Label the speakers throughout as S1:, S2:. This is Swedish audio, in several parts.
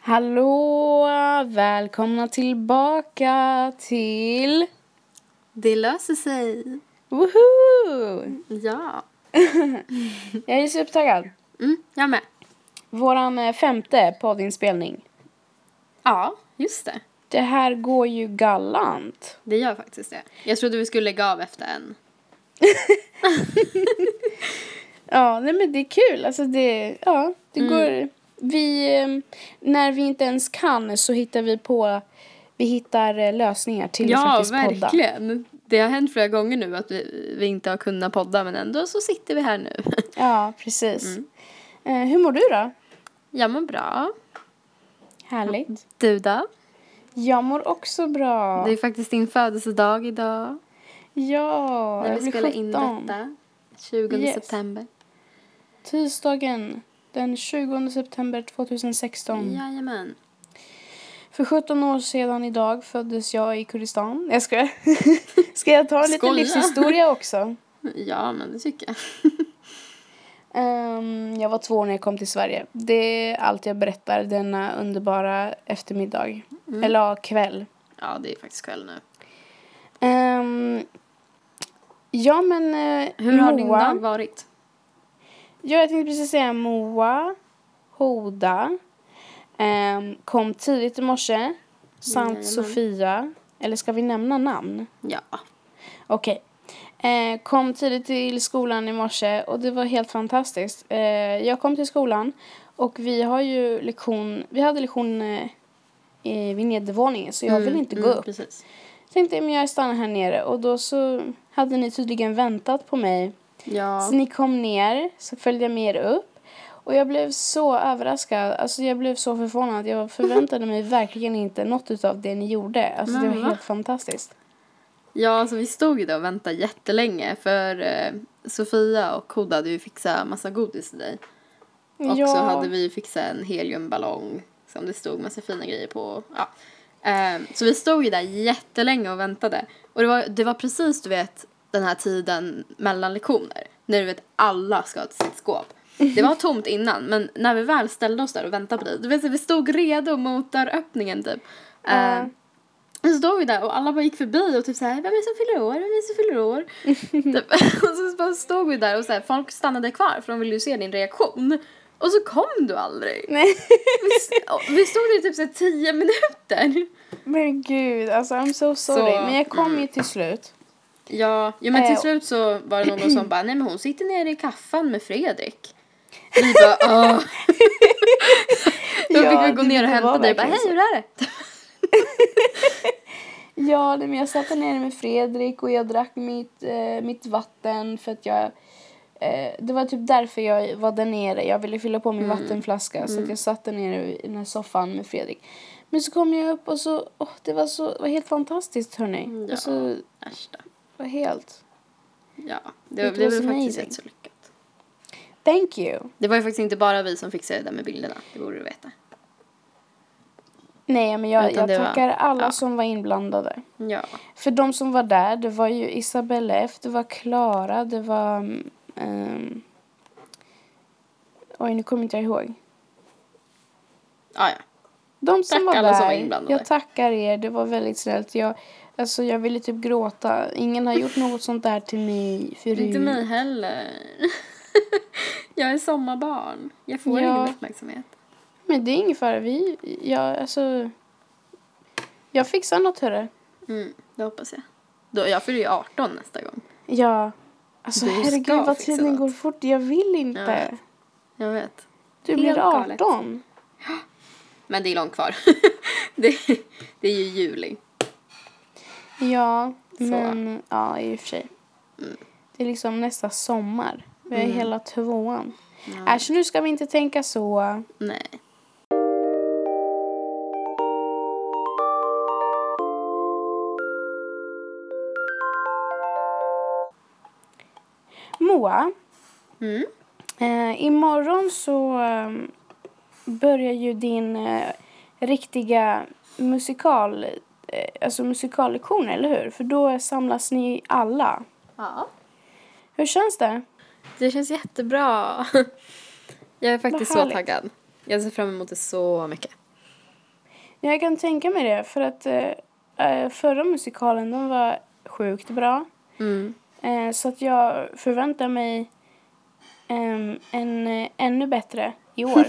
S1: Hallå! Välkomna tillbaka till...
S2: Det löser sig.
S1: Woohoo!
S2: Ja.
S1: Jag är supertaggad.
S2: Mm, jag med.
S1: Våran eh, femte poddinspelning.
S2: Ja, just det.
S1: Det här går ju galant.
S2: Det gör faktiskt det. Jag trodde vi skulle lägga av efter en.
S1: Ja, nej men det är kul. Alltså det, ja, det går... Vi, eh, när vi inte ens kan så hittar vi på... Vi hittar eh, lösningar till att
S2: ja,
S1: faktiskt podda.
S2: verkligen. Det har hänt flera gånger nu att vi, vi inte har kunnat podda men ändå så sitter vi här nu.
S1: Ja, precis. Eh, hur mår du då?
S2: Jag mår bra.
S1: Härligt.
S2: Du då?
S1: Jag mår också bra.
S2: Det är faktiskt din födelsedag idag.
S1: Ja,
S2: när
S1: jag
S2: vi
S1: blir
S2: spelar in
S1: 17.
S2: detta. 20
S1: Yes.
S2: september.
S1: Tisdagen den 20 september 2016.
S2: Jajamän.
S1: För 17 år sedan idag föddes jag i Kurdistan. Jag skojar. Ska jag ta en liten
S2: Skoja.
S1: livshistoria också?
S2: Ja, men det tycker jag.
S1: Ehm, jag var två år när jag kom till Sverige. Det är allt jag berättar denna underbara eftermiddag.
S2: Mm.
S1: Eller ja, kväll.
S2: Ja, det är faktiskt kväll nu.
S1: Ehm, ja, men eh,
S2: Hur har din
S1: Moa-
S2: dag varit?
S1: Ja, jag tänkte precis säga Moa, Hoda, ehm, kom tidigt i morse, samt
S2: Jajamän.
S1: Sofia. Eller ska vi nämna namn?
S2: Ja.
S1: Okej. Eh, kom tidigt till skolan i morse och det var helt fantastiskt. Eh, jag kom till skolan och vi har ju lektion, vi hade lektion eh, i- vid nedervåningen så jag
S2: Mm,
S1: vill inte gå
S2: mm,
S1: upp.
S2: Precis.
S1: Tänkte men jag stannar här nere och då så hade ni tydligen väntat på mig
S2: Ja.
S1: så ni kom ner, så följde jag med er upp. Och jag blev så överraskad, alltså jag blev så förvånad. Jag förväntade mig verkligen inte något av det ni gjorde. Alltså det
S2: Men
S1: var
S2: va?
S1: helt fantastiskt.
S2: Ja, alltså vi stod ju där och väntade jättelänge för eh, Sofia och Koda hade ju fixat massa godis till dig. Och så hade vi fixat en heliumballong som det stod massa fina grejer på. Ja. Eh, så vi stod ju där jättelänge och väntade. Och det var, det var precis, du vet, den här tiden mellan lektioner. När du vet, alla ska till sitt skåp. Det var tomt innan, men när vi väl ställde oss där och väntade på dig. Du vet, så vi stod redo mot dörröppningen typ. Eh,
S1: Ja.
S2: och så stod vi där och alla bara gick förbi och typ såhär, vem är det som fyller år, vem är det som fyller år? typ. Och så bara stod vi där och såhär, folk stannade kvar för de ville ju se din reaktion. Och så kom du aldrig.
S1: Nej,
S2: Vi, s- och vi stod där i typ såhär tio minuter.
S1: men gud, alltså I'm so sorry.
S2: Så, Mm.
S1: Men jag kom ju till slut.
S2: Ja, ja men till
S1: Eh,
S2: slut så var det någon som bara, nej men hon sitter nere i kaffan med Fredrik. Vi bara, åh. Då
S1: Ja,
S2: fick vi gå
S1: det-
S2: ner och
S1: det var
S2: hämta dig och bara,
S1: verkligen
S2: hej
S1: så.
S2: hur är det?
S1: Ja, nej, men jag satt där nere med Fredrik och jag drack mitt, eh, mitt vatten för att jag... Eh, det var typ därför jag var där nere. Jag ville fylla på min
S2: Mm.
S1: vattenflaska så att jag satt där nere i den här soffan med Fredrik. Men så kom jag upp och så... Åh, det var så... Det var helt fantastiskt, hörni.
S2: Mm, Ja.
S1: Alltså, det
S2: Äsch då.
S1: var helt...
S2: Ja, det, var-
S1: It
S2: det var
S1: was
S2: faktiskt
S1: amazing.
S2: rätt så lyckat.
S1: Thank you!
S2: Det var ju faktiskt inte bara vi som fixade det där med bilderna, det borde du veta.
S1: Nej, men jag,
S2: Utan
S1: jag
S2: det var-
S1: tackar alla
S2: ja.
S1: som var inblandade.
S2: Ja.
S1: För de som var där, det var ju Isabelle F, det var Klara, det var... mm, ehm, oj, nu kommer inte jag ihåg.
S2: Ah, ja.
S1: De som
S2: Tack
S1: var
S2: alla
S1: där,
S2: som var inblandade.
S1: jag tackar er, det var väldigt snällt. Jag, alltså, jag ville typ gråta. Ingen har gjort något sånt där till mig förut.
S2: Inte mig heller. jag är sommarbarn. Jag får
S1: Ja.
S2: ingen uppmärksamhet.
S1: Men det är ingen fara, vi, jag, alltså... Jag fixar något, hörru.
S2: Mm, det hoppas jag. Då, jag fyller ju 18 nästa gång.
S1: Ja. Alltså
S2: Du ska
S1: herregud vad
S2: fixa
S1: tiden
S2: något.
S1: går fort, jag vill
S2: Jag
S1: inte.
S2: vet. Jag vet.
S1: du
S2: Helt
S1: blir
S2: galet.
S1: 18.
S2: Men det är långt kvar. det, det är ju juli.
S1: Ja,
S2: Så. Mm.
S1: men ja, i och för sig. Det är liksom nästa sommar. Vi har hela tvåan.
S2: Ja.
S1: Äsch, nu ska vi inte tänka så.
S2: Nej.
S1: Moa,
S2: Mm.
S1: eh, imorgon så eh, börjar ju din eh, riktiga musikal, eh, alltså musikallektion, eller hur? För då samlas ni alla.
S2: Ja.
S1: Hur känns det?
S2: Det känns jättebra. jag är faktiskt så
S1: härligt.
S2: taggad. Jag ser fram emot det så mycket.
S1: Ja, jag kan tänka mig det. För att eh, förra musikalen den var sjukt bra.
S2: Mm.
S1: Eh, så att jag förväntar mig ehm, en eh, ännu bättre i år.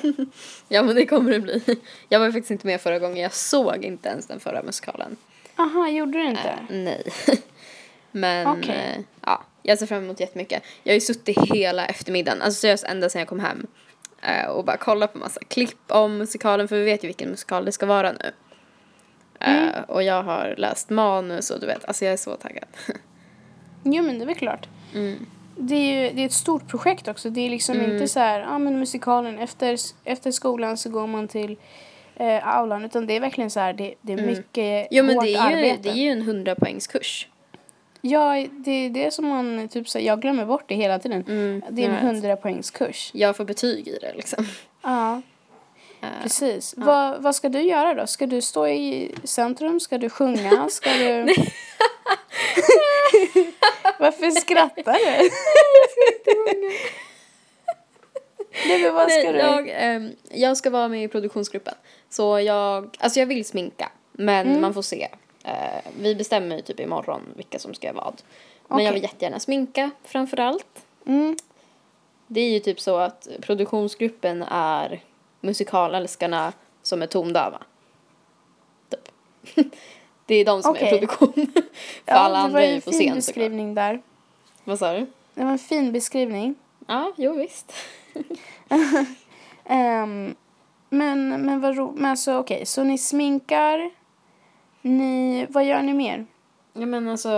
S2: Ja men det kommer det bli. Jag var ju faktiskt inte med förra gången, jag såg inte ens den förra musikalen.
S1: Aha, gjorde du inte?
S2: Eh, nej. men
S1: Okej.
S2: eh, ja, jag ser fram emot jättemycket. Jag har ju suttit hela eftermiddagen, alltså seriöst ända sedan jag kom hem. eh, och bara kollat på massa klipp om musikalen för vi vet ju vilken musikal det ska vara nu. Eh,
S1: Mm.
S2: och jag har läst manus och du vet, alltså jag är så taggad.
S1: Jo, men det är väl klart.
S2: Mm.
S1: Det är ju det är ett stort projekt också. Det är liksom inte så här, ja ah, men musikalen, efter, efter skolan så går man till eh, aulan. Utan det är verkligen så här, det, det är mycket
S2: Mm. Jo men
S1: hårt
S2: det är, ju,
S1: arbete.
S2: det är ju en 100 poängskurs.
S1: Ja, det är det som man typ så här, jag glömmer bort det hela tiden.
S2: Mm,
S1: Det är
S2: jag
S1: en
S2: vet.
S1: 100 poängskurs.
S2: Jag får betyg i det liksom.
S1: Ja,
S2: Eh,
S1: precis. Vad, vad ska du göra då? Ska du stå i centrum? Ska du sjunga? Ska du... Varför skrattar du? Nej, men vad ska
S2: Nej,
S1: du?
S2: jag, ehm, jag ska vara med i produktionsgruppen. Så jag, alltså jag vill sminka. Men
S1: Mm.
S2: man får se. Eh, vi bestämmer ju typ imorgon vilka som ska göra vad. Men jag
S1: Okej.
S2: vill jättegärna sminka framförallt.
S1: Mm.
S2: Det är ju typ så att produktionsgruppen är musikalälskarna som är tondöva. Typ. det är de som är
S1: Okej.
S2: produktion. För
S1: Ja,
S2: alla
S1: det var
S2: andra
S1: ju
S2: är ju
S1: en
S2: på
S1: fin
S2: scen såklart.
S1: beskrivning där.
S2: Vad sa du?
S1: Det var en fin beskrivning.
S2: Ja, jo visst.
S1: Ehm, men, men vad roligt. Men alltså okej, så ni sminkar. Ni, vad gör ni mer?
S2: Ja men alltså,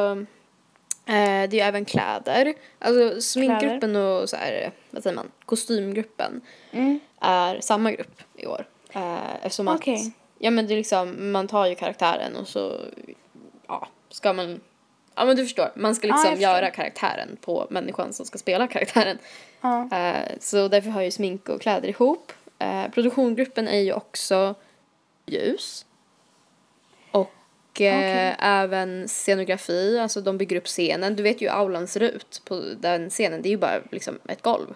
S2: eh, det är ju även kläder. Alltså sminkgruppen och så här, vad säger man, kostymgruppen
S1: Mm.
S2: är samma grupp i år. Eh, eftersom att,
S1: Okej.
S2: ja men det är liksom, man tar ju karaktären och så, ja, ska man, ja men du förstår, man ska
S1: Ja, jag
S2: liksom
S1: förstår.
S2: göra karaktären på människan som ska spela karaktären.
S1: Ja.
S2: Eh, så därför hör ju smink och kläder ihop. Eh, produktionsgruppen är ju också ljus. Och eh,
S1: Okej.
S2: även scenografi, alltså de bygger upp scenen. Du vet ju hur aulan ser ut på den scenen. Det är ju bara liksom ett golv.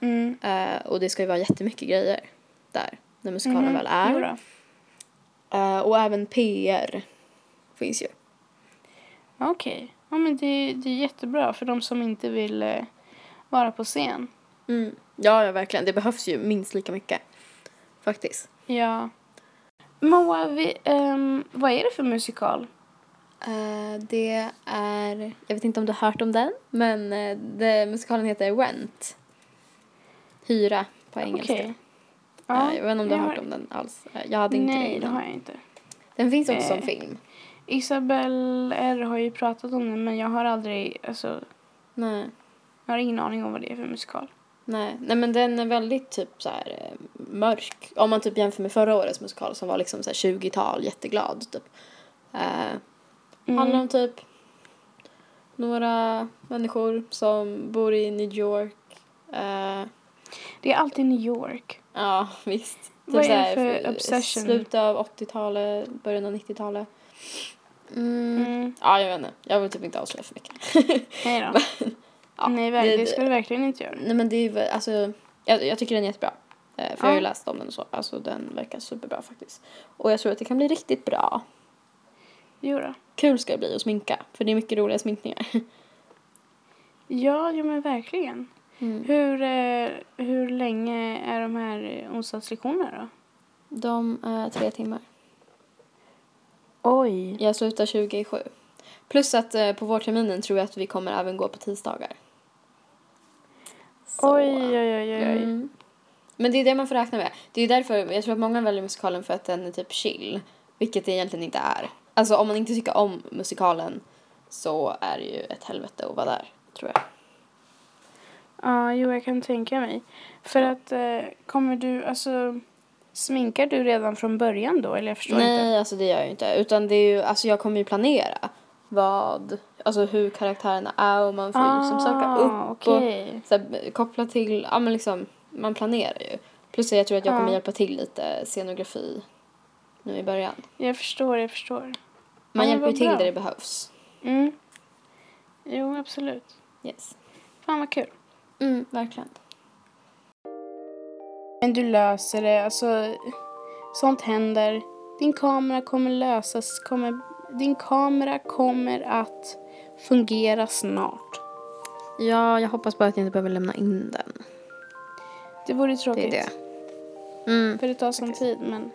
S1: Mm.
S2: Eh, och det ska ju vara jättemycket grejer där när musikalen väl
S1: mhm. Jo
S2: är.
S1: då.
S2: Eh, och även PR finns ju.
S1: Okej. Ja, men det, det är jättebra för de som inte vill eh, vara på scen.
S2: Mm. Ja, ja, verkligen. Det behövs ju minst lika mycket. Faktiskt.
S1: Ja. Moa, vi, ehm, vad är det för musikal?
S2: Eh, det är, jag vet inte om du har hört om den, men eh, det, musikalen heter Rent. Hyra på engelska.
S1: Okej.
S2: Eh, jag vet inte om du
S1: jag
S2: har hört om den alls. Eh, jag hade inte det
S1: Nej, det
S2: innan.
S1: har jag inte.
S2: Den finns också som
S1: Eh.
S2: film.
S1: Isabel R har ju pratat om den men jag har aldrig, alltså,
S2: Nej.
S1: jag har ingen aning om vad det är för musikal.
S2: Nej. Nej, men den är väldigt typ så här eh, mörk. Om man typ jämför med förra årets musikal som var liksom så här 20-tal, jätteglad typ. Eh,
S1: Mm.
S2: Handlar om typ några människor som bor i New York. Eh,
S1: Det är alltid New York.
S2: Ja, visst. Typ
S1: Vad är det
S2: såhär,
S1: för
S2: f-
S1: obsession?
S2: Slutet av 80-talet, början av 90-talet. Mm.
S1: Mm.
S2: Ja, jag vet inte. Jag vill typ inte avslöja för mycket.
S1: Nej då.
S2: Ja,
S1: Nej, det, det ska du verkligen inte göra.
S2: Nej, men det är väl- alltså, jag, jag tycker den är jättebra. Eh, För jag har ju
S1: Ja.
S2: läst om den och så. Alltså den verkar superbra faktiskt. Och jag tror att det kan bli riktigt bra.
S1: Jo då.
S2: Kul ska det bli att sminka. För det är mycket roliga sminkningar.
S1: Ja, ja men verkligen.
S2: Mm.
S1: Hur, eh, hur länge är de här eh, onsdagslektionerna då?
S2: De är tre timmar.
S1: Oj.
S2: Jag slutar 20 i sju. Plus att eh, på vårterminen tror jag att vi kommer även gå på tisdagar. Så.
S1: Oj, oj, oj, oj. oj.
S2: Mm. Men det är det man får räkna med. Det är därför jag tror att många väljer musikalen för att den är typ chill. Vilket det egentligen inte är. Alltså om man inte tycker om musikalen så är det ju ett helvete att vara där. Tror jag.
S1: Ja, jo, jag kan tänka mig. För att eh, kommer du, alltså, sminkar du redan från början då? Eller jag förstår
S2: Nej,
S1: inte.
S2: alltså det gör jag ju inte. Utan det är ju, alltså jag kommer ju planera vad, alltså hur karaktärerna är och man får ju liksom söka upp och
S1: Ah, okej.
S2: så här, koppla till, ja men liksom, man planerar ju. Plus jag tror att jag kommer
S1: Ja.
S2: hjälpa till lite scenografi nu i början.
S1: Jag förstår, jag förstår.
S2: Man
S1: men
S2: hjälper ju
S1: vad
S2: till
S1: bra.
S2: där det behövs.
S1: Mm. Jo, absolut.
S2: Yes.
S1: Fan vad kul.
S2: Mm, verkligen.
S1: Men du löser det, alltså sånt händer. Din kamera kommer lösas, kommer, din kamera kommer att fungera snart.
S2: Ja, jag hoppas bara att jag inte behöver lämna in den.
S1: Det vore
S2: Det
S1: tråkigt.
S2: är det. Mm.
S1: För det tar sån tid, men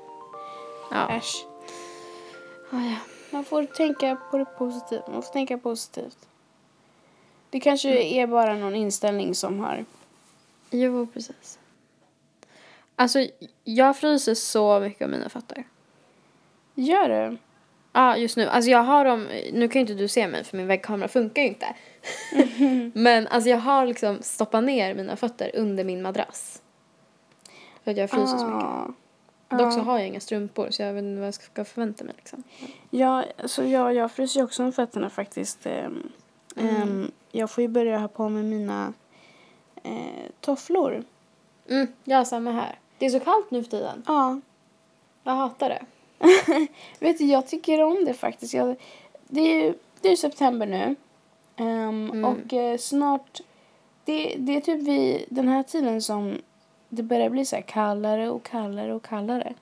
S2: Ja.
S1: äsch.
S2: Ah, ja.
S1: Man får tänka på det positivt. Man får tänka positivt. Det kanske är bara någon inställning som har...
S2: Jo, precis. Alltså, jag fryser så mycket av mina fötter.
S1: Gör det.
S2: Ja, just nu. Alltså jag har dem, nu kan ju inte du se mig för min väggkamera funkar ju inte. Men alltså jag har liksom stoppat ner mina fötter under min madrass. För att jag fryser så mycket.
S1: Ah.
S2: Dock så har jag inga strumpor så jag vet inte vad jag ska förvänta mig liksom.
S1: Ja, alltså jag, jag fryser ju också om fötterna faktiskt. Ehm,
S2: Mm.
S1: ehm, jag får ju börja ha på mig mina eh, tofflor.
S2: Mm, jag har samma här. Det är så kallt nu för tiden.
S1: Ja,
S2: Jag hatar det.
S1: vet du, jag tycker om det faktiskt. Jag, det är ju det är ju september nu. Ehm,
S2: Mm.
S1: Och eh, snart... Det, det är typ vid den här tiden som det börjar bli så här kallare och kallare och kallare.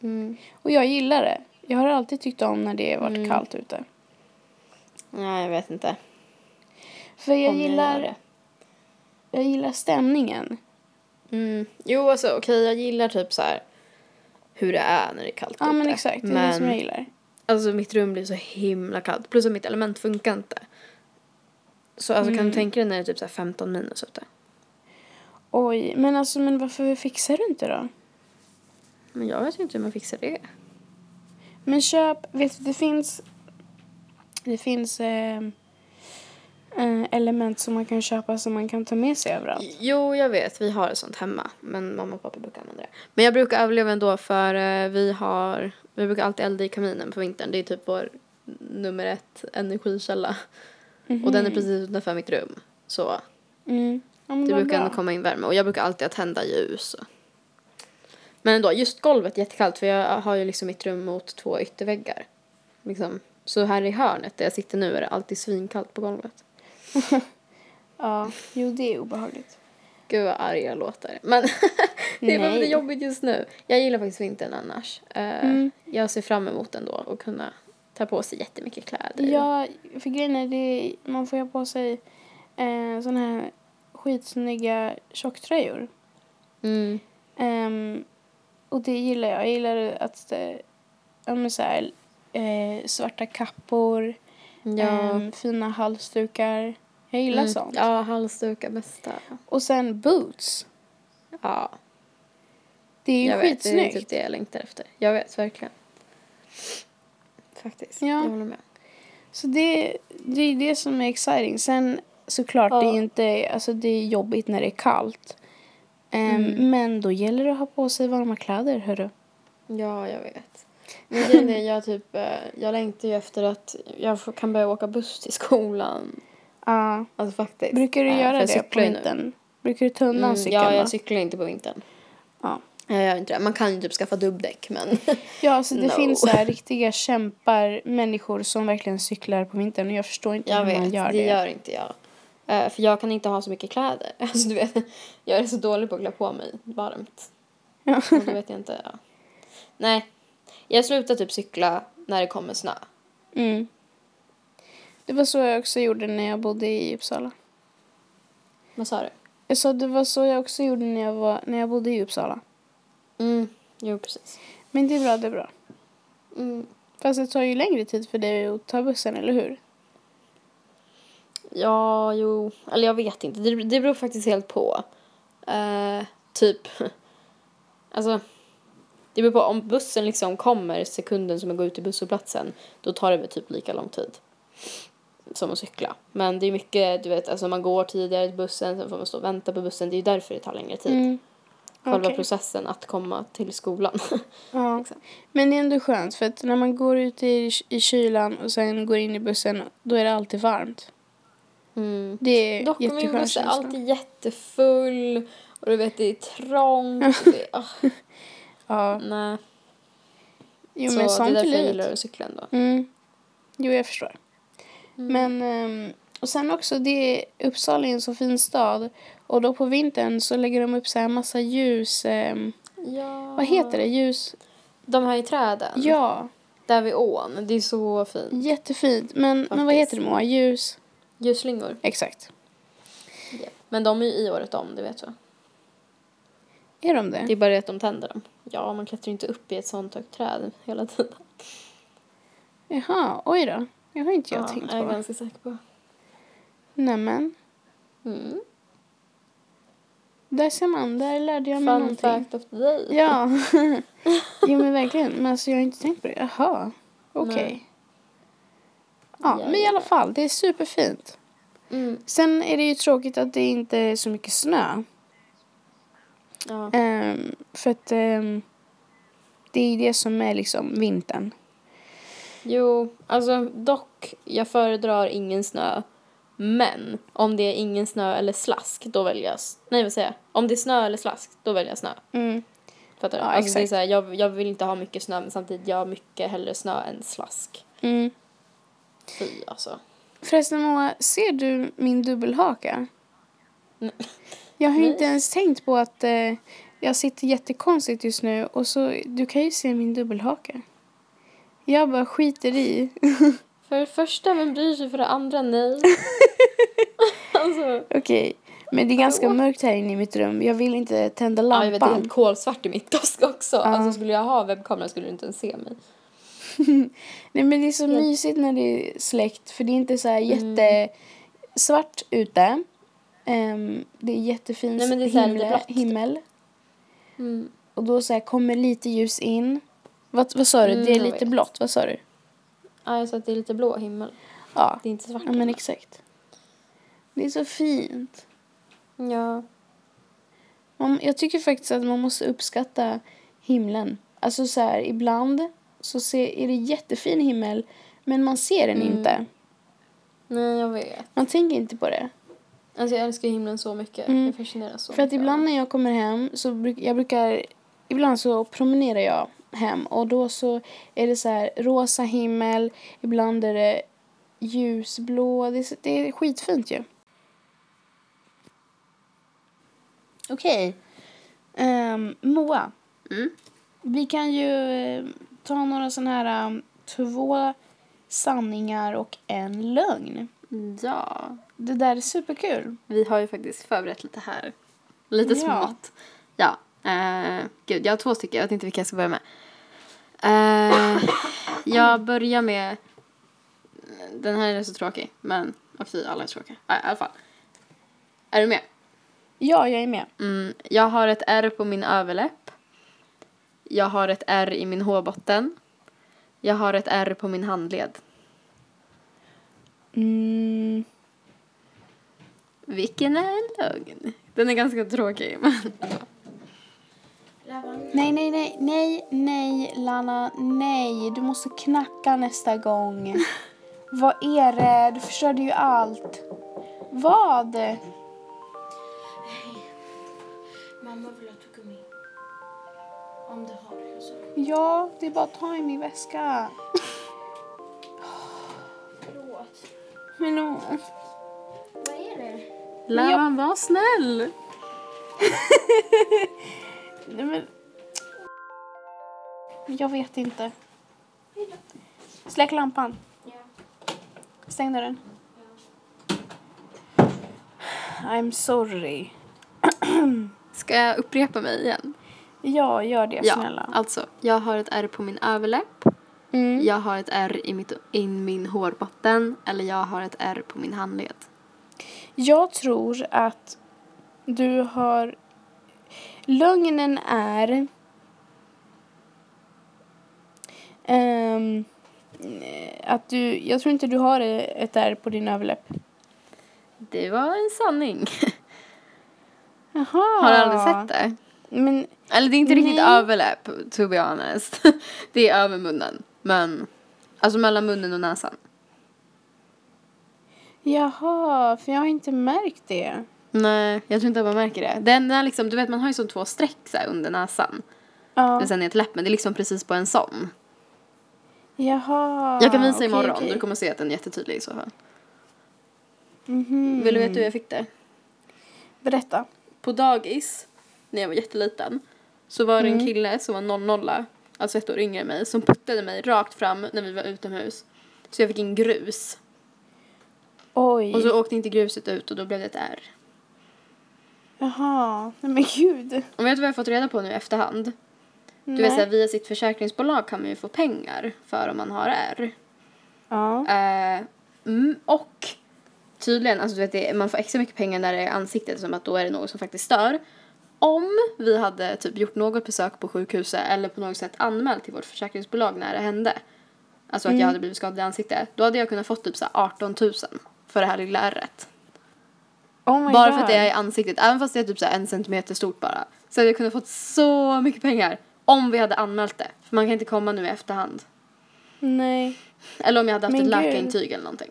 S2: Mm.
S1: Och jag gillar det. Jag har alltid tyckt om när det har varit
S2: Mm.
S1: kallt ute.
S2: Ja, jag vet inte.
S1: För jag
S2: Om jag gör
S1: gillar,
S2: det.
S1: jag gillar stämningen.
S2: Mm. Jo, alltså okej, jag gillar typ så här hur det är när det är kallt
S1: Ja, men exakt. Det är det som jag gillar.
S2: Alltså mitt rum blir så himla kallt. Plus att mitt element funkar inte. Så alltså
S1: Mm.
S2: kan du tänka dig när det är typ så här 15 minus ute?
S1: Oj, men alltså men varför fixar du inte då?
S2: Men jag vet ju inte hur man fixar det.
S1: Men köp, vet du det finns det finns eh, eh, element som man kan köpa som man kan ta med sig överallt.
S2: Jo, jag vet. Vi har ett sånt hemma. Men mamma och pappa brukar använda det. Men jag brukar överleva ändå för eh, vi har... Vi brukar alltid elda i kaminen på vintern. Det är typ vår nummer ett energikälla.
S1: Mm-hmm.
S2: Och den är precis utanför mitt rum. Så
S1: Mm. Ja, men
S2: det
S1: vad
S2: brukar
S1: bra.
S2: ändå komma in värme. Och jag brukar alltid tända ljus. och- Men ändå, just golvet är jättekallt för jag har ju liksom mitt rum mot två ytterväggar. Liksom. Så här i hörnet där jag sitter nu är det alltid svinkallt på golvet.
S1: Ja, jo det är obehagligt.
S2: Gud vad arg jag låter. Men det är bara
S1: Nej.
S2: lite jobbigt just nu. Jag gillar faktiskt vintern annars. Eh,
S1: Mm.
S2: Jag ser fram emot den då och kunna ta på sig jättemycket kläder.
S1: Ja, för grejen är det, man får ju ha på sig eh, såna här skitsnygga tjocktröjor.
S2: Mm.
S1: Ehm, och det gillar jag. Jag gillar att eh, ja, men så här, eh, svarta kappor,
S2: Ja.
S1: ehm, fina halsdukar. Jag gillar
S2: Mm.
S1: sånt.
S2: Ja, halsdukar bästa.
S1: Och sen boots.
S2: Ja,
S1: Det är ju
S2: jag vet. Det är
S1: skitsnyggt.
S2: typ det jag längtar efter. Jag vet, verkligen. Faktiskt.
S1: Ja.
S2: Jag håller med.
S1: Så det, det är det som är exciting. Sen såklart,
S2: Ja.
S1: det, är inte, alltså, det är jobbigt när det är kallt. Ehm,
S2: Mm.
S1: Men då gäller det att ha på sig varma kläder, hörru.
S2: Ja, jag vet. Men grejen är, jag, typ, eh, jag längtar ju efter att jag får- kan börja åka buss till skolan.
S1: Ja.
S2: Alltså faktiskt.
S1: Brukar du
S2: Eh, för
S1: göra
S2: jag
S1: det
S2: cyklar
S1: på
S2: ju nu.
S1: vintern? Brukar du ta undan
S2: Mm,
S1: cykeln?
S2: ja,
S1: då?
S2: jag cyklar inte på vintern.
S1: Ja.
S2: Jag gör inte det. Man kan ju typ skaffa dubbdäck, men...
S1: Ja, alltså det
S2: No.
S1: finns så här riktiga kämpar, människor som verkligen cyklar på vintern och jag förstår inte
S2: jag
S1: hur man
S2: vet,
S1: gör
S2: det.
S1: det.
S2: gör inte jag. Eh, för jag kan inte ha så mycket kläder. Alltså, du vet, jag är så dålig på att klä på mig varmt.
S1: Ja.
S2: Och då vet jag inte. Ja. Nej, jag slutar typ cykla när det kommer snö.
S1: Mm. Det var så jag också gjorde när jag bodde i Uppsala.
S2: Vad sa du?
S1: Jag sa det var så jag också gjorde när jag, var, när jag bodde i Uppsala.
S2: Mm, jo precis.
S1: Men det är bra, det är bra.
S2: Mm.
S1: Fast det tar ju längre tid för dig att ta bussen, eller hur?
S2: Ja, jo. Eller jag vet inte. Det, det beror faktiskt helt på. Eh, typ. Alltså. Det beror på om bussen liksom kommer sekunden som jag går ut till busshållplatsen. Då tar det väl typ lika lång tid. Som att cykla. Men det är mycket, du vet, alltså man går tidigare till bussen. Sen får man stå och vänta på bussen. Det är ju därför det tar längre tid.
S1: Mm.
S2: Själva
S1: Okej.
S2: processen att komma till skolan.
S1: Ja.
S2: Exakt.
S1: Men det är ändå skönt för att när man går ut i, i kylan och sen går in i bussen då är det alltid varmt.
S2: Mm.
S1: Det är
S2: Dock är min
S1: jätteskön
S2: buss är
S1: känsla.
S2: alltid jättefull. Och du vet, det är trångt. och det, ah,
S1: Ja.
S2: nej.
S1: Jo,
S2: så
S1: men
S2: det är
S1: sånt är
S2: därför jag
S1: livet.
S2: gillar att cykla ändå.
S1: Mm. Jo, jag förstår. Men, ehm, och sen också, det är, Uppsala är en så fin stad. Och då på
S3: Mm.
S1: vintern så lägger de upp så här massa ljus... ehm,
S2: Ja.
S3: Ah.
S1: vad heter det? Ljus...
S3: De här i träden.
S1: Ja,
S3: Där vid ån. Det är så fint.
S1: jättefint. Men, men vad
S3: Faktiskt.
S1: heter det Moa? Ljus?
S3: Ljusslingor.
S1: Exakt.
S3: Men de är ju i året om, det vet jag.
S1: Är de det?
S3: Det är bara det att de tänder dem. Ja, man klättrar ju inte upp i ett sånt högt träd hela tiden.
S1: Jaha, oj då. Det har inte jag tänkt
S3: Jag är
S1: på.
S3: ganska säker på.
S1: Nämen,
S3: Mm.
S1: där ser man. Där lärde jag mig
S3: Fun
S1: någonting.
S3: fact of the day.
S1: Ja. jo men verkligen. Men alltså jag har inte tänkt på det. Jaha. Okej.
S3: Nej.
S1: Ja, men i alla fall. Det är superfint.
S3: Mm.
S1: Sen är det ju tråkigt att det inte är så mycket snö.
S3: Ja.
S1: Ehm, för att ehm, det är det som är liksom vintern.
S3: Jo, alltså dock, jag föredrar ingen snö. Men om det är ingen snö eller slask, då väljer jag... s- Nej, vad säger jag? Om det är snö eller slask, då väljer jag snö. Fattar du? alltså, det
S1: Ja,
S3: är
S1: exakt.
S3: så här, jag, jag vill inte ha mycket snö, men samtidigt, jag har mycket hellre snö än slask.
S1: Mm.
S3: Fy, alltså.
S1: Förresten Moa, ser du min dubbelhaka?
S3: Nej.
S1: Jag har ju
S3: Nej.
S1: inte ens tänkt på att eh, jag sitter jättekonstigt just nu och så, du kan ju se min dubbelhaka. Jag bara skiter i.
S3: För det första, vem bryr sig? För det andra, nej. alltså...
S1: Okej, men det är ganska mörkt här inne i mitt rum. Jag vill inte tända
S3: Ja, jag vet, det är helt
S1: lampan.
S3: kolsvart i mitt dusk också. Alltså, skulle jag ha webbkamera skulle du inte ens se mig.
S1: Nej men det är så mysigt när det är släckt för det är inte så här
S3: Mm.
S1: jättesvart ute. Ehm, det är jättefin
S3: Nej, men det är så här lite
S1: himle,
S3: blått.
S1: himmel.
S3: Mm.
S1: Och då så här kommer lite ljus in. Vad, vad sa du?
S3: Mm,
S1: det är
S3: jag
S1: lite
S3: vet.
S1: blått, vad sa du?
S3: Ja, jag sa att det är lite blå himmel.
S1: Ja,
S3: Det är inte svart.
S1: ja men exakt. Det är så fint.
S3: Mm. Ja.
S1: Man, jag tycker faktiskt att man måste uppskatta himlen. Alltså så här, ibland så ser, är det jättefin himmel men man ser den
S3: Mm.
S1: inte.
S3: Nej, jag vet.
S1: Man tänker inte på det.
S3: Alltså jag älskar himlen så mycket.
S1: Mm.
S3: Jag fascineras så
S1: För att
S3: mycket av
S1: ibland
S3: den.
S1: när jag kommer hem så bruk, jag brukar ibland så promenerar jag hem och då så är det så här rosa himmel, ibland är det ljusblå. Det är, så- det är skitfint ju. Okej. Ehm, Moa.
S2: Mm.
S1: Vi kan ju eh, ta några sådana här um, två sanningar och en lögn.
S3: Mm.
S2: Ja.
S1: Det där är superkul.
S2: Vi har ju faktiskt förberett lite här. Lite
S1: Ja.
S2: smått. Ja. Eh, gud, jag har två stycken. Jag vet inte vilka jag ska börja med. Eh, jag börjar med... Den här är så tråkig, men... Och fy, alla är tråkiga. Ja, I alla fall. Är du med?
S1: Ja, jag är med.
S2: Mm, jag har ett R på min överläpp. Jag har ett R i min hårbotten. Jag har ett R på min handled.
S1: Mm.
S2: Vilken är en lögn? Den är ganska tråkig, men...
S1: Nej, nej, nej, nej, nej, Lana, nej. Du måste knacka nästa gång. Vad är det? Du förstörde ju allt. Vad?
S4: Mamma vill att du kommer in. Om du har det, jag sa.
S1: Ja, det är bara att ta i min väska.
S4: Förlåt.
S1: Förlåt.
S4: Vad är det?
S2: Lavan, var snäll!
S1: Nej, men... Jag vet inte. Släck lampan.
S4: Ja.
S1: Stäng dörren. I'm sorry.
S2: Ska jag upprepa mig igen?
S1: Ja, gör det
S2: Ja,
S1: snälla.
S2: alltså. Jag har ett R på min överläpp.
S1: Mm.
S2: Jag har ett R i, mitt, i min hårbotten. Eller jag har ett R på min handled.
S1: Jag tror att du har... Lögnen är... Ehm, eh, att du, jag tror inte du har eh, ett R på din överläpp.
S2: Det var en sanning.
S1: Jaha.
S2: Har du aldrig sett det?
S1: Men,
S2: Eller det är inte riktigt
S1: Nej.
S2: överläpp, to be honest. Det är över munnen. Men, alltså mellan munnen och näsan.
S1: jaha, för jag har inte märkt det.
S2: Nej, jag tror inte att man märker det. Den där liksom, du vet man har ju som två streck så här under näsan.
S1: Ja.
S2: Men sen ner till läppen, det är liksom precis på en sån.
S1: Jaha.
S2: Jag kan visa
S1: okej,
S2: imorgon,
S1: okej.
S2: du kommer se att den är jättetydlig i så fall.
S1: Mhm.
S2: Vill du veta hur jag fick det?
S1: Berätta.
S2: på dagis, när jag var jätteliten, så var det en kille som var 00 alltså ett år yngre än mig, som puttade mig rakt fram när vi var utomhus. Så jag fick in grus.
S1: Oj.
S2: Och så åkte inte gruset ut och då blev det ett ärr.
S1: Jaha. Nej men gud.
S2: Och vet du vad jag har fått reda på nu i efterhand? Du vet, så här, via sitt försäkringsbolag kan man ju få pengar för om man har ärr.
S1: Ja.
S2: Eh, mm, och tydligen, alltså du vet, det, man får extra mycket pengar när det är ansiktet som att då är det något som faktiskt stör. Om vi hade typ gjort något besök på sjukhuset eller på något sätt anmält till vårt försäkringsbolag när det hände, alltså att
S1: Mm.
S2: jag hade blivit skadad i ansiktet, då hade jag kunnat fått typ så här 18 000 för det här lilla ärret.
S1: Oh my
S2: Bara
S1: God.
S2: för att det är i ansiktet, även fast det är typ så här en centimeter stort bara. Så hade jag kunnat fått så mycket pengar om vi hade anmält det. För man kan inte komma nu i efterhand.
S1: Nej.
S2: Eller om jag hade haft
S1: Men
S2: ett
S1: gud.
S2: läkarintyg eller någonting.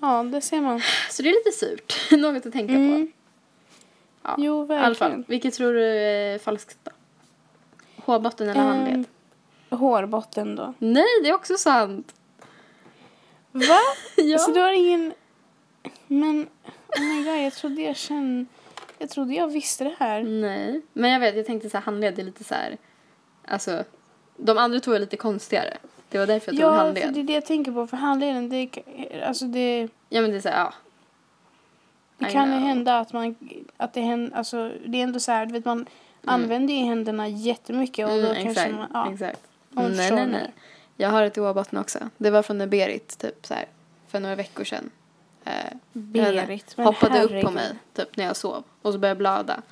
S1: Ja, det ser man.
S2: Så det är lite surt. Något att tänka på.
S1: Mm.
S2: Ja,
S1: Jo,
S2: I alla fall,
S1: verkligen.
S2: vilket tror du är falskt då? Hårbotten eller handled?
S1: Ehm, hårbotten då.
S2: Nej, det är också sant!
S1: Va?
S2: Ja.
S1: Så du har ingen... Men, oh my god, jag trodde jag kände... Jag trodde jag visste det
S2: Mm,
S1: här.
S2: Nej, men jag vet, jag tänkte så här, handled är lite så här... Alltså, de andra två är lite konstigare. Det var därför jag tog
S1: Ja,
S2: handled.
S1: för det är det jag tänker på. För handleden, det, är- alltså det,
S2: Ja, men det är så här, ja.
S1: det
S2: I
S1: kan ju
S2: know.
S1: hända att man... Att det, händer, alltså, det är ändå så här, du vet, man använder ju händerna jättemycket. Och då
S2: Mm,
S1: kanske
S2: exakt,
S1: man... Ja,
S2: exakt.
S1: man
S2: Nej,
S1: förstår
S2: nej,
S1: det.
S2: nej. Jag har ett i Åbotten också. Det var från när Berit, typ så här, för några veckor sedan. Eh,
S1: Berit, men
S2: hoppade upp på
S1: herregud.
S2: mig typ när jag sov och så började jag blöda.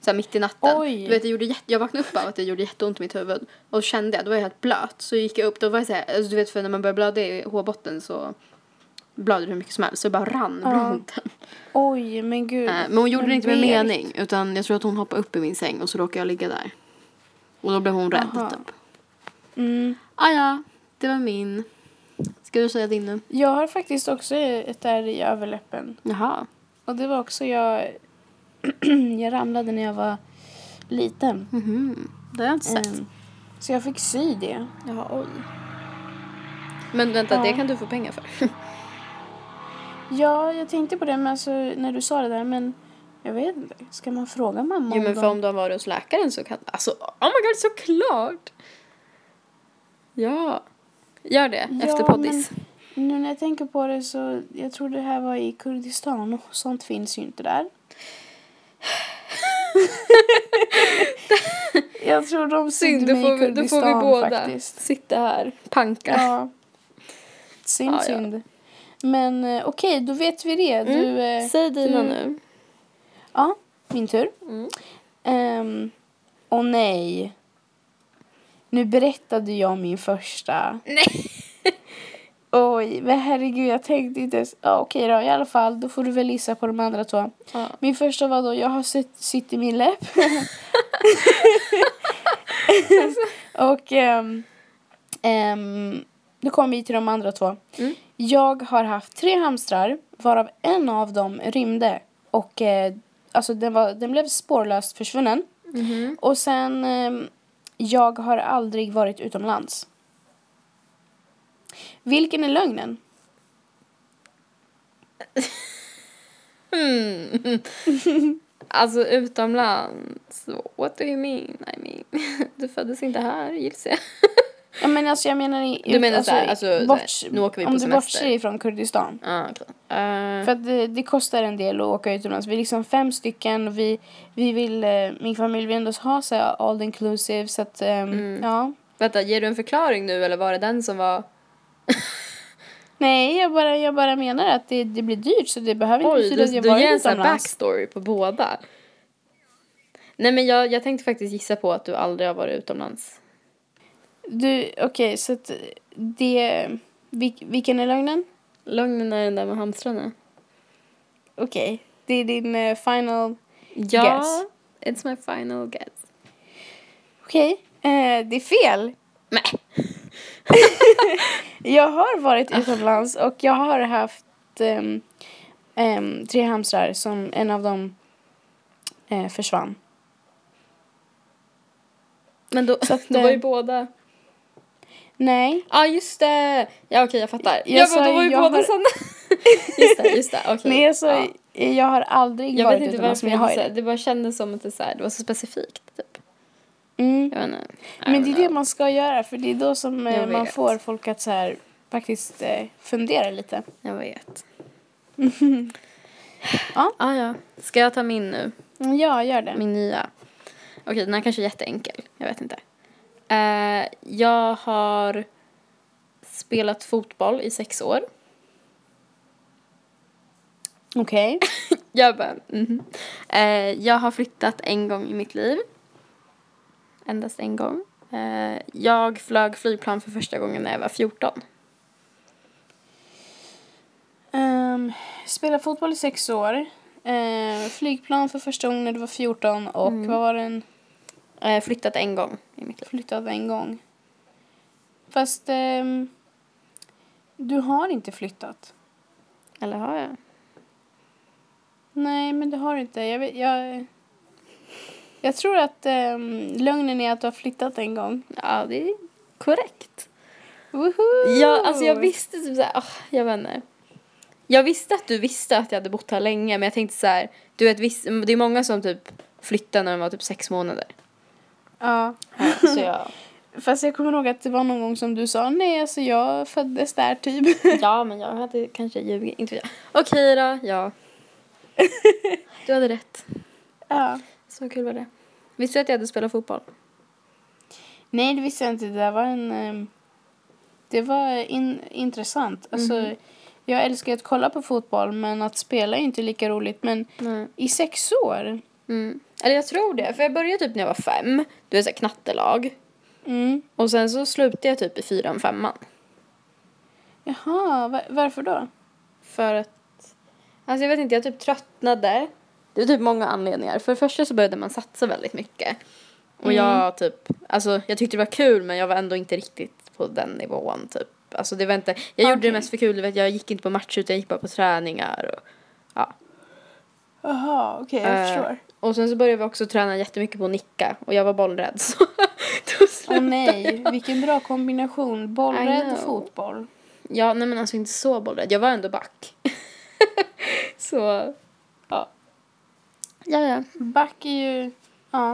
S2: Så här, mitt i natten.
S1: Oj.
S2: Du vet, jag, gjorde jätte, jag vaknade upp av att det gjorde jätteont i mitt huvud. Och så kände jag, då var jag helt blöt. Så gick jag upp, då var jag så här, alltså, du vet för när man börjar blöda i hårbotten så blöder det hur mycket som helst. Så det bara rann blodet.
S1: Oj, men gud.
S2: Eh, men hon gjorde det inte med
S1: Berit.
S2: mening utan jag tror att hon hoppade upp i min säng och så råkade jag ligga där. Och då blev hon rädd
S1: Aha.
S2: typ.
S1: Mm.
S2: Ah, ja, det var min. Ska du säga din nu?
S1: Jag har faktiskt också ett ärr i överläppen.
S2: Jaha.
S1: Och det var också jag... jag ramlade när jag var liten.
S2: Mhm. Det har jag inte sett.
S1: Ehm, så jag fick sy det.
S2: Jaha, oj. Men vänta,
S1: Ja.
S2: det kan du få pengar för.
S1: Ja, jag tänkte på det men alltså, när du sa det där. Men jag vet inte. Ska man fråga mamma
S2: jo,
S1: om
S2: men
S1: de-
S2: för om du har varit hos läkaren så kan... Alltså, oh my god, såklart! Ja. Gör det,
S1: Ja,
S2: efter poddis.
S1: Nu när jag tänker på det så... Jag tror det här var i Kurdistan och sånt finns ju inte där. jag tror de
S2: Synd,
S1: sydde
S2: då
S1: mig i
S2: får, vi, då får vi
S1: Kurdistan
S2: båda
S1: faktiskt.
S2: sitta här. Panka.
S1: Ja. Synd,
S2: Ja, ja.
S1: synd. Men eh, okej, då vet vi det. Du, eh,
S2: Säg dina
S1: du-
S2: nu.
S1: Ja, min tur.
S2: Mm.
S1: Ehm, Åh nej. Nu berättade jag min första. Nej. Oj, men herregud, jag tänkte inte ens. Ja, okej då, i alla fall. Då får du väl gissa på de andra två.
S2: Ja.
S1: Min första var då, jag har sett sitt i min läpp. Och ehm, ehm, då kommer vi till de andra två.
S2: Mm.
S1: Jag har haft tre hamstrar, varav en av dem rymde. Och eh, alltså den, var, den blev spårlöst försvunnen. Och sen, ehm, jag har aldrig varit utomlands. Vilken är lögnen?
S2: Mm. alltså utomlands. What do you mean? I mean, du föddes inte här gissar jag.
S1: Ja, men alltså jag menar... i-
S2: Du menar så här, alltså,
S1: bort-
S2: så här, nu åker vi
S1: Om
S2: på
S1: du
S2: semester.
S1: bortser ifrån Kurdistan.
S2: Ah, okay. Eh,
S1: För att det, det kostar en del att åka utomlands. Vi är liksom fem stycken och vi, vi vill, eh, min familj vill ändå ha så här all inclusive så att, ehm,
S2: Mm.
S1: ja.
S2: vänta, ger du en förklaring nu eller var det den som var...
S1: Nej, jag bara, jag bara menar att det, det blir dyrt så det behöver inte
S2: Oj,
S1: betyda
S2: du,
S1: att jag
S2: du ger en
S1: varit
S2: sån här
S1: utomlands.
S2: backstory på båda. Nej men jag, jag tänkte faktiskt gissa på att du aldrig har varit utomlands.
S1: Du, okej, så att det, vil, vilken är lögnen?
S2: Lögnen är den där med hamstrarna.
S1: Okej, det är din eh, final,
S2: Ja,
S1: Guess.
S2: it's my final guess.
S1: okej, eh, det är fel.
S2: Nej.
S1: Jag har varit utomlands och jag har haft ehm, ehm, tre hamstrar som en av dem eh, försvann.
S2: Men då,
S1: Så att,
S2: då var ju
S1: eh,
S2: båda...
S1: Nej.
S2: Ja, ah, just det! Ja, okej, jag fattar.
S1: Jag
S2: ja,
S1: sa
S2: men då
S1: ju,
S2: var ju
S1: jag
S2: båda
S1: har-
S2: sanna. just det, just det. Okej.
S1: Nej, alltså,
S2: Ja.
S1: jag har aldrig
S2: Jag
S1: varit
S2: vet inte
S1: utomlands,
S2: varför
S1: men
S2: jag
S1: jag har ju
S2: gissade.
S1: det.
S2: Det bara kändes som att det, så här, det var så specifikt. Typ.
S1: Mm.
S2: Jag vet inte. I
S1: Men
S2: don't
S1: det är
S2: know.
S1: det man ska göra för det är då som eh,
S2: Jag
S1: man
S2: vet.
S1: får folk att så här, faktiskt eh, fundera lite.
S2: Jag vet.
S1: Ja.
S2: Ah, ja. Ska jag ta min nu?
S1: Mm, Ja, gör det.
S2: Min nya. Okej, den här kanske är jätteenkel. Jag vet inte. Eh, jag har spelat fotboll i sex år.
S1: Okej.
S2: Jag bara, mhm. eh, Jag har flyttat en gång i mitt liv. Endast en gång. Eh, jag flög flygplan för första gången när jag var 14.
S1: Ehm, spela fotboll i sex år. Ehm, flygplan för första gången när du var 14 och
S2: Mm.
S1: vad var den?
S2: Eh, flyttat en gång i mitt liv.
S1: Flyttad en gång. Fast ehm, du har inte flyttat.
S2: Eller har jag?
S1: Nej, men du har inte. Jag, vet, jag, jag tror att um, lögnen är att du har flyttat en gång.
S2: Ja, det är korrekt.
S1: Woho!
S2: Jag, alltså jag visste typ såhär, ah, jag vet inte. Jag visste att du visste att jag hade bott här länge men jag tänkte så här, du vet visst, det är många som typ flyttar när de var typ sex månader.
S1: Ja.
S2: Så jag,
S1: Fast jag kommer ihåg att det var någon gång som du sa nej, alltså jag föddes där typ.
S2: ja men jag hade kanske ljugit, inte vet jag. Okej då, ja. Du hade rätt.
S1: ja.
S2: Så kul var det. Visste du att jag hade spelat fotboll?
S1: Nej, det visste jag inte. Det där var en... ehm, Det var in, intressant. Alltså, Jag älskar att kolla på fotboll, men att spela är inte lika roligt. Men
S2: Nej.
S1: i sex år?
S2: Mm. Eller jag tror det, för jag började typ när jag var fem. Du är såhär knattelag.
S1: Mm.
S2: Och sen så slutade jag typ i fyran, femman.
S1: Jaha, va- varför då?
S2: För att... Alltså jag vet inte, jag typ tröttnade. Det var typ många anledningar. För det första så började man satsa väldigt mycket. Och jag typ, alltså jag tyckte det var kul men jag var ändå inte riktigt på den nivån typ. Alltså det var inte, jag gjorde
S1: Okej.
S2: det mest för kul, du vet, jag gick inte på matcher utan jag gick bara på träningar. Och,
S1: Jaha, okej, jag
S2: Eh,
S1: förstår.
S2: och sen så började vi också träna jättemycket på att nicka och jag var bollrädd så då
S1: Åh
S2: slutade
S1: nej, vilken bra kombination.
S2: I
S1: Bollrädd
S2: know.
S1: och fotboll.
S2: Ja, nej men alltså inte så bollrädd. Jag var ändå back. så, ja. Ja, ja.
S1: Back är ju... Ja.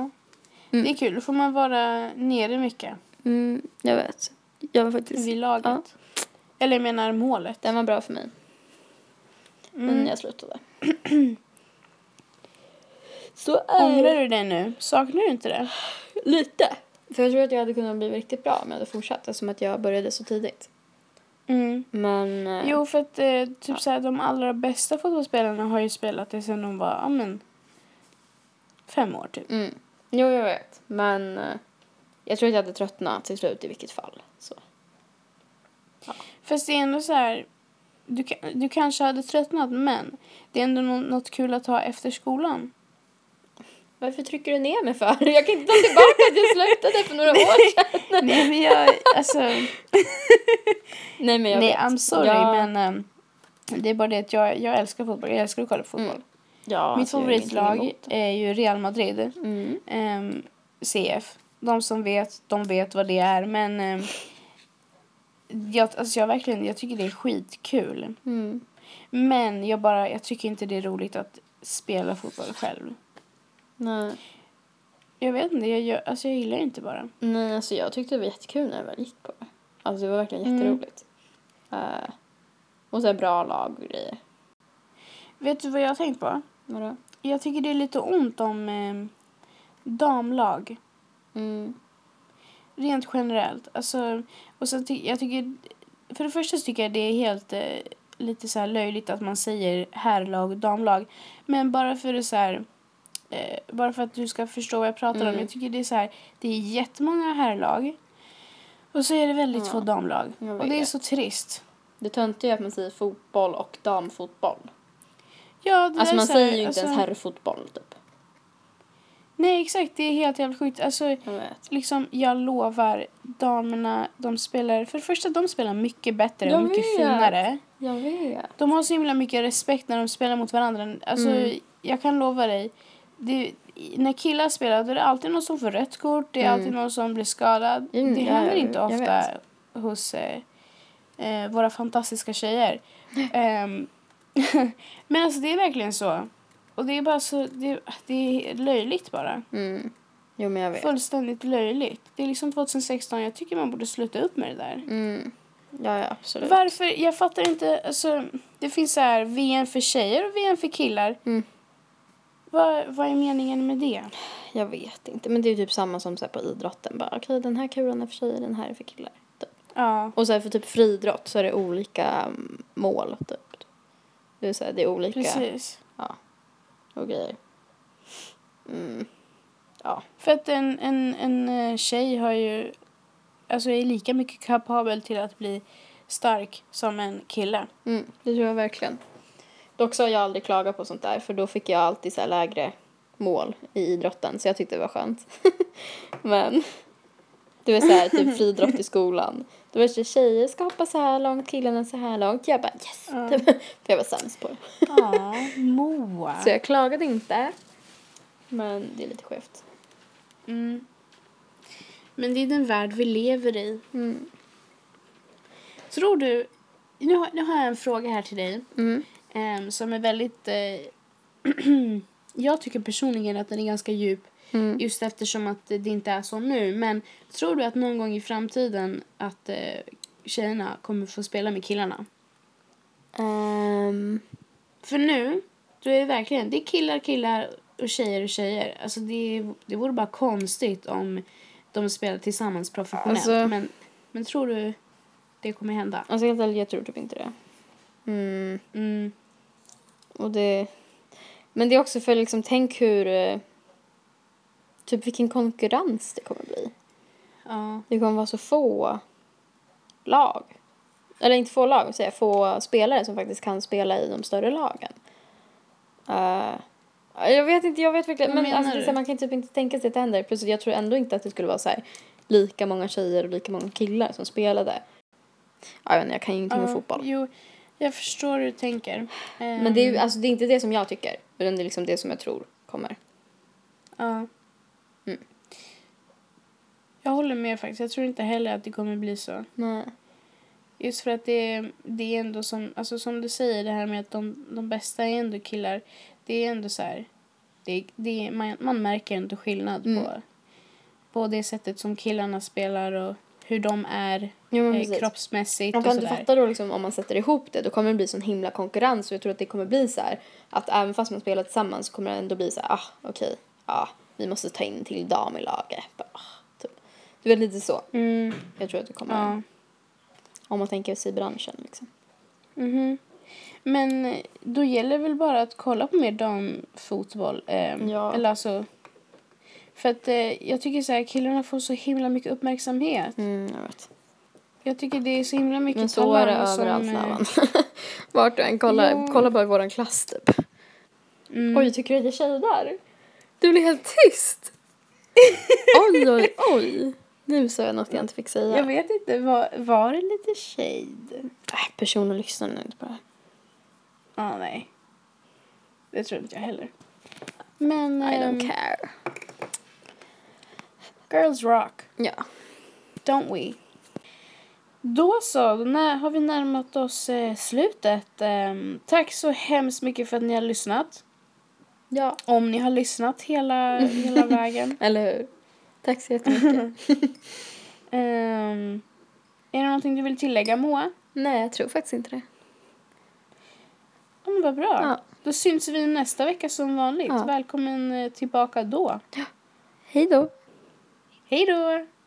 S2: Mm.
S1: Det är kul, då får man vara nere mycket
S2: Mm, jag vet. Jag var faktiskt...
S1: vid laget. Eller jag menar målet. Mm.
S2: Den var bra för mig. Men jag slutade. så är
S1: Ångrar
S2: det
S1: du det nu? Saknar du inte det?
S2: lite. För jag tror att jag hade kunnat bli riktigt bra om jag hade fortsatt eftersom att jag började så tidigt.
S1: Mm.
S2: Men... eh,
S1: Jo, för att eh, typ såhär, de allra bästa fotbollsspelarna har ju spelat det sen de var ja, men, fem år typ.
S2: Mm. Jo, jag vet. Men eh, jag tror att jag hade tröttnat till slut i vilket fall. Så.
S1: Fast det är ändå så här, du, ka- du kanske hade tröttnat men det är ändå nå- något kul att ha efter skolan.
S2: Varför trycker du ner mig för? Jag kan inte ta tillbaka att jag slutade för några år sedan.
S1: Nej, men jag, alltså,
S2: Nej, men jag
S1: nej
S2: vet.
S1: I'm sorry
S2: ja,
S1: men eh, det är bara det att jag, jag älskar fotboll, jag älskar att kolla på fotboll.
S2: Mm. Ja,
S1: Mitt
S2: alltså, jag har ingenting
S1: favoritlag
S2: emot det.
S1: är ju Real Madrid.
S2: Mm.
S1: Ehm, CF. De som vet, de vet vad det är. Men ehm, jag, alltså jag, verkligen, jag tycker det är skitkul.
S2: Mm.
S1: Men jag, bara, jag tycker inte det är roligt att spela fotboll själv.
S2: Nej.
S1: Jag vet inte, jag, gör, alltså jag gillar det inte bara.
S2: Nej, alltså jag tyckte det var jättekul när jag väl gick på det. Alltså det var verkligen
S1: Mm.
S2: jätteroligt. Eh, och sen bra lag och grejer.
S1: Vet du vad jag har tänkt på?
S2: Vadå?
S1: Jag tycker det är lite ont om ehm, damlag.
S2: Mm.
S1: Rent generellt. Alltså, och sen ty- jag tycker, för det första så tycker jag det är helt eh, lite så här löjligt att man säger herrlag och damlag. Men bara för det så här, eh, bara för att du ska förstå vad jag pratar om.
S2: Mm.
S1: Jag tycker det är så här, det är jättemånga herrlag. Och så är det väldigt
S2: Ja.
S1: få damlag.
S2: Jag
S1: Och det är
S2: vet.
S1: så trist.
S2: Det töntiga är att man säger fotboll och damfotboll.
S1: Ja, det där
S2: Alltså
S1: är
S2: man
S1: så här,
S2: säger ju inte
S1: alltså-
S2: ens herrfotboll typ.
S1: Nej, exakt. Det är helt jävla sjukt. Alltså,
S2: Jag vet.
S1: liksom, jag lovar, damerna, de spelar, för det första, de spelar mycket bättre
S2: Jag
S1: och mycket
S2: vet.
S1: finare.
S2: Jag vet.
S1: De har så himla mycket respekt när de spelar mot varandra. Alltså,
S2: Mm.
S1: Jag kan lova dig, det, när killar spelar då är det alltid någon som får rött kort, det är
S2: Mm.
S1: alltid någon som blir skadad.
S2: Mm,
S1: det
S2: ja,
S1: händer
S2: jag-
S1: inte
S2: jag
S1: ofta
S2: vet.
S1: hos eh, eh, våra fantastiska tjejer. Ehm, men alltså det är verkligen så. Och det är bara så, det, det är löjligt bara.
S2: Mm. Jo, men jag vet.
S1: Fullständigt löjligt. Det är liksom 2016, jag tycker man borde sluta upp med det där.
S2: Mm. Ja, ja, absolut.
S1: Varför? Jag fattar inte. Alltså, det finns så här VM för tjejer och VM för killar.
S2: Mm.
S1: Vad, vad är meningen med det?
S2: Jag vet inte. Men det är ju typ samma som så här på idrotten. Bara, okej, den här kulan är för tjejer, den här är för killar. Typ.
S1: Ja.
S2: Och så här för typ friidrott så är det olika mm, mål, typ. Det är, så här, det är olika
S1: Precis.
S2: och grejer. Mm.
S1: För att en, en, en eh, tjej har ju, alltså är lika mycket kapabel till att bli stark som en kille.
S2: Mm, det tror jag verkligen. Dock så har jag aldrig klagat på sånt där för då fick jag alltid så här lägre mål i idrotten så jag tyckte det var skönt. Men det var så här typ friidrott i skolan. Då var det så här, tjejer ska hoppa så här långt, killarna så här långt. Jag bara yes! Typ, för jag var sämst på det.
S1: Ja, Moa.
S2: Så jag klagade inte. Men det är lite skevt.
S1: Mm. Men det är den värld vi lever i.
S2: Mm.
S1: Tror du, nu har, nu har jag en fråga här till dig
S2: Mm.
S1: ehm, som är väldigt, eh, jag tycker personligen att den är ganska djup
S2: Mm.
S1: just eftersom att det inte är så nu. Men tror du att någon gång i framtiden att eh, tjejerna kommer få spela med killarna?
S2: Ehm,
S1: För nu, då är det verkligen, det är killar, killar och tjejer och tjejer. Alltså det, är- det vore bara konstigt om de spelar tillsammans professionellt.
S2: Alltså-
S1: Men, men tror du det kommer hända?
S2: alltså helt ärligt, jag tror typ inte det. Mm.
S1: Mm.
S2: Och det... Men det är också för liksom, tänk hur... eh, Typ vilken konkurrens det kommer bli.
S1: Ja.
S2: Det kommer vara så få lag. Eller inte få lag, säga få spelare som faktiskt kan spela i de större lagen. Eh, jag vet inte, jag vet verkligen.
S1: Vad
S2: Men
S1: menar
S2: alltså, det är så här,
S1: du?
S2: man kan typ inte tänka sig att det händer. Plus jag tror ändå inte att det skulle vara så här lika många tjejer och lika många killar som spelade. Ja, Jag vet inte, jag kan ju ingenting om
S1: Ja,
S2: fotboll.
S1: Jo, jag förstår hur du tänker.
S2: Men det är, ju- alltså, det är inte det som jag tycker. Utan det är liksom det som jag tror kommer.
S1: Ja.
S2: Mm.
S1: Jag håller med faktiskt. Jag tror inte heller att det kommer bli så.
S2: Nej.
S1: Just för att det, det är ändå som, alltså som du säger, det här med att de, de bästa är ändå killar. Det är ändå så här, det, det, är- man, man märker ändå skillnad
S2: Mm.
S1: på, på det sättet som killarna spelar och hur de är
S2: Jo, men
S1: eh,
S2: precis.
S1: kroppsmässigt
S2: Man
S1: och
S2: kan inte
S1: sådär.
S2: fatta då liksom, om man sätter ihop det, då kommer det bli sån himla konkurrens och jag tror att det kommer bli så här att även fast man spelar tillsammans så kommer det ändå bli så här, ah okej, ah, vi måste ta in till dam i laget. Bara, Ah, typ. Du vet lite så.
S1: Mm,
S2: Jag tror att det kommer,
S1: ja.
S2: om man tänker sig branschen liksom.
S1: Mhm. Men då gäller väl bara att kolla på mer damfotboll. Eh,
S2: Ja.
S1: Eller alltså, för att eh, jag tycker så här, killarna får så himla mycket uppmärksamhet.
S2: Mm, jag vet.
S1: Jag tycker det är så himla mycket
S2: Men Mm, så är det
S1: talang som,
S2: överallt
S1: eh,
S2: Lavan. Vart du än kollar,
S1: Jo.
S2: kolla bara i våran klass typ.
S1: Mm.
S2: Oj, tycker du att jag är tjej där? Du blir helt tyst! oj, oj, oj. Nu sa jag något jag inte fick säga.
S1: Jag vet inte, var, var det lite shade?
S2: Äh, personer lyssnar nu inte på det här.
S1: Ja, nej. Det tror inte jag heller. Men...
S2: I
S1: ehm,
S2: don't care.
S1: girls rock,
S2: Ja.
S1: don't we? Då så, då när, har vi närmat oss eh, slutet. Ehm, tack så hemskt mycket för att ni har lyssnat.
S2: Ja.
S1: Om ni har lyssnat hela, hela vägen.
S2: Eller hur? Tack så jättemycket.
S1: Ehm, är det någonting du vill tillägga, Moa?
S2: Nej, jag tror faktiskt inte det.
S1: Ja, men vad bra.
S2: Ja.
S1: Då syns vi nästa vecka som vanligt.
S2: Ja.
S1: Välkommen eh, tillbaka då.
S2: Hej då.
S1: Hej då!